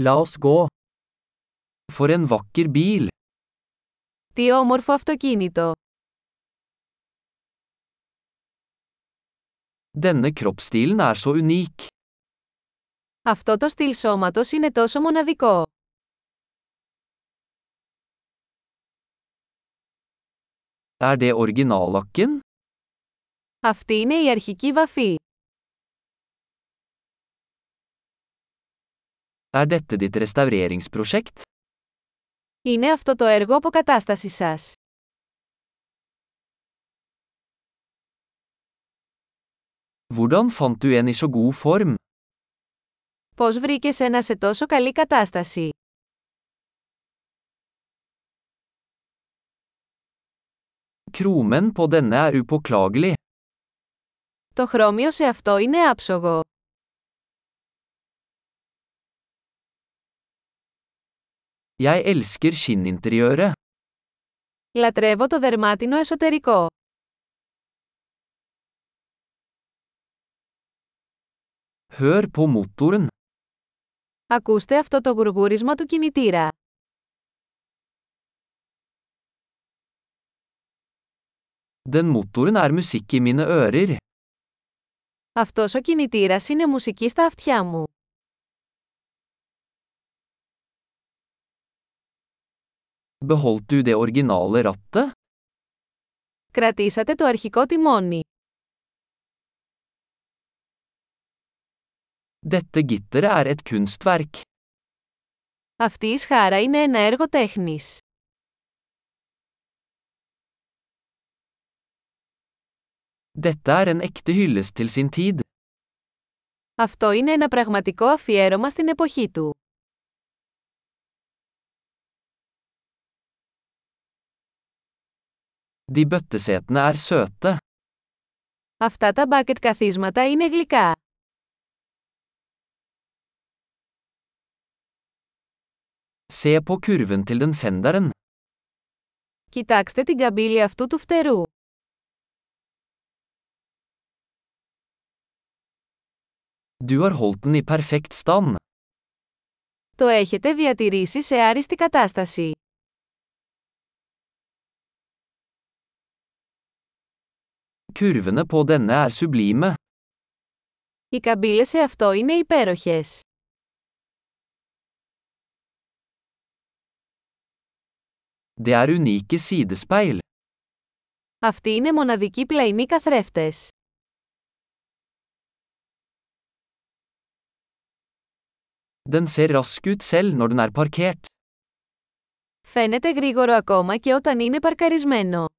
La oss gå. For en vakker bil. Τι όμορφο αυτοκίνητο! Denne kroppsstilen er så unik. Αυτό το στυλ σώματος είναι τόσο μοναδικό. Er det originallakken? Αυτή είναι η αρχική βαφή. Er dette ditt restaureringsprosjekt? Είναι αυτό το έργο αποκατάστασης σας. Hvordan fant du en i så god form? Πώς βρήκες ένα σε τόσο καλή κατάσταση. Kromen på denne er upåklagelig. Το χρώμιο σε αυτό είναι άψογο. Jeg elsker skinninteriøret. Λατρεύω το δερμάτινο εσωτερικό. Hør på motoren. Ακούστε αυτό το γουργούρισμα του κινητήρα. Den motoren er musikk i mine ører. Αυτός ο κινητήρας είναι μουσική στα αυτιά μου. Beholdt du det originale rattet? Κρατήσατε το αρχικό τιμόνι. Dette gitteret er et kunstverk. Αυτή η σχάρα είναι ένα έργο τέχνης. Dette er en ekte hyllest til sin tid. Αυτό είναι ένα πραγματικό αφιέρωμα στην εποχή του. De bøttesetene er søte. Αυτά τα μπάκετ καθίσματα είναι γλυκά. Se på kurven til den fenderen. Κοιτάξτε την καμπύλη αυτού του φτερού. Du har holdt den i perfekt stand. Το έχετε διατηρήσει σε άριστη κατάσταση. Kurvene på denne er sublime. Οι καμπύλες σε αυτό είναι υπέροχες. Det er unike sidespeil. Αυτοί είναι μοναδικοί πλαϊνοί καθρέφτες. Den ser rask ut selv når den er parkert. Φαίνεται γρήγορο ακόμα και όταν είναι παρκαρισμένο.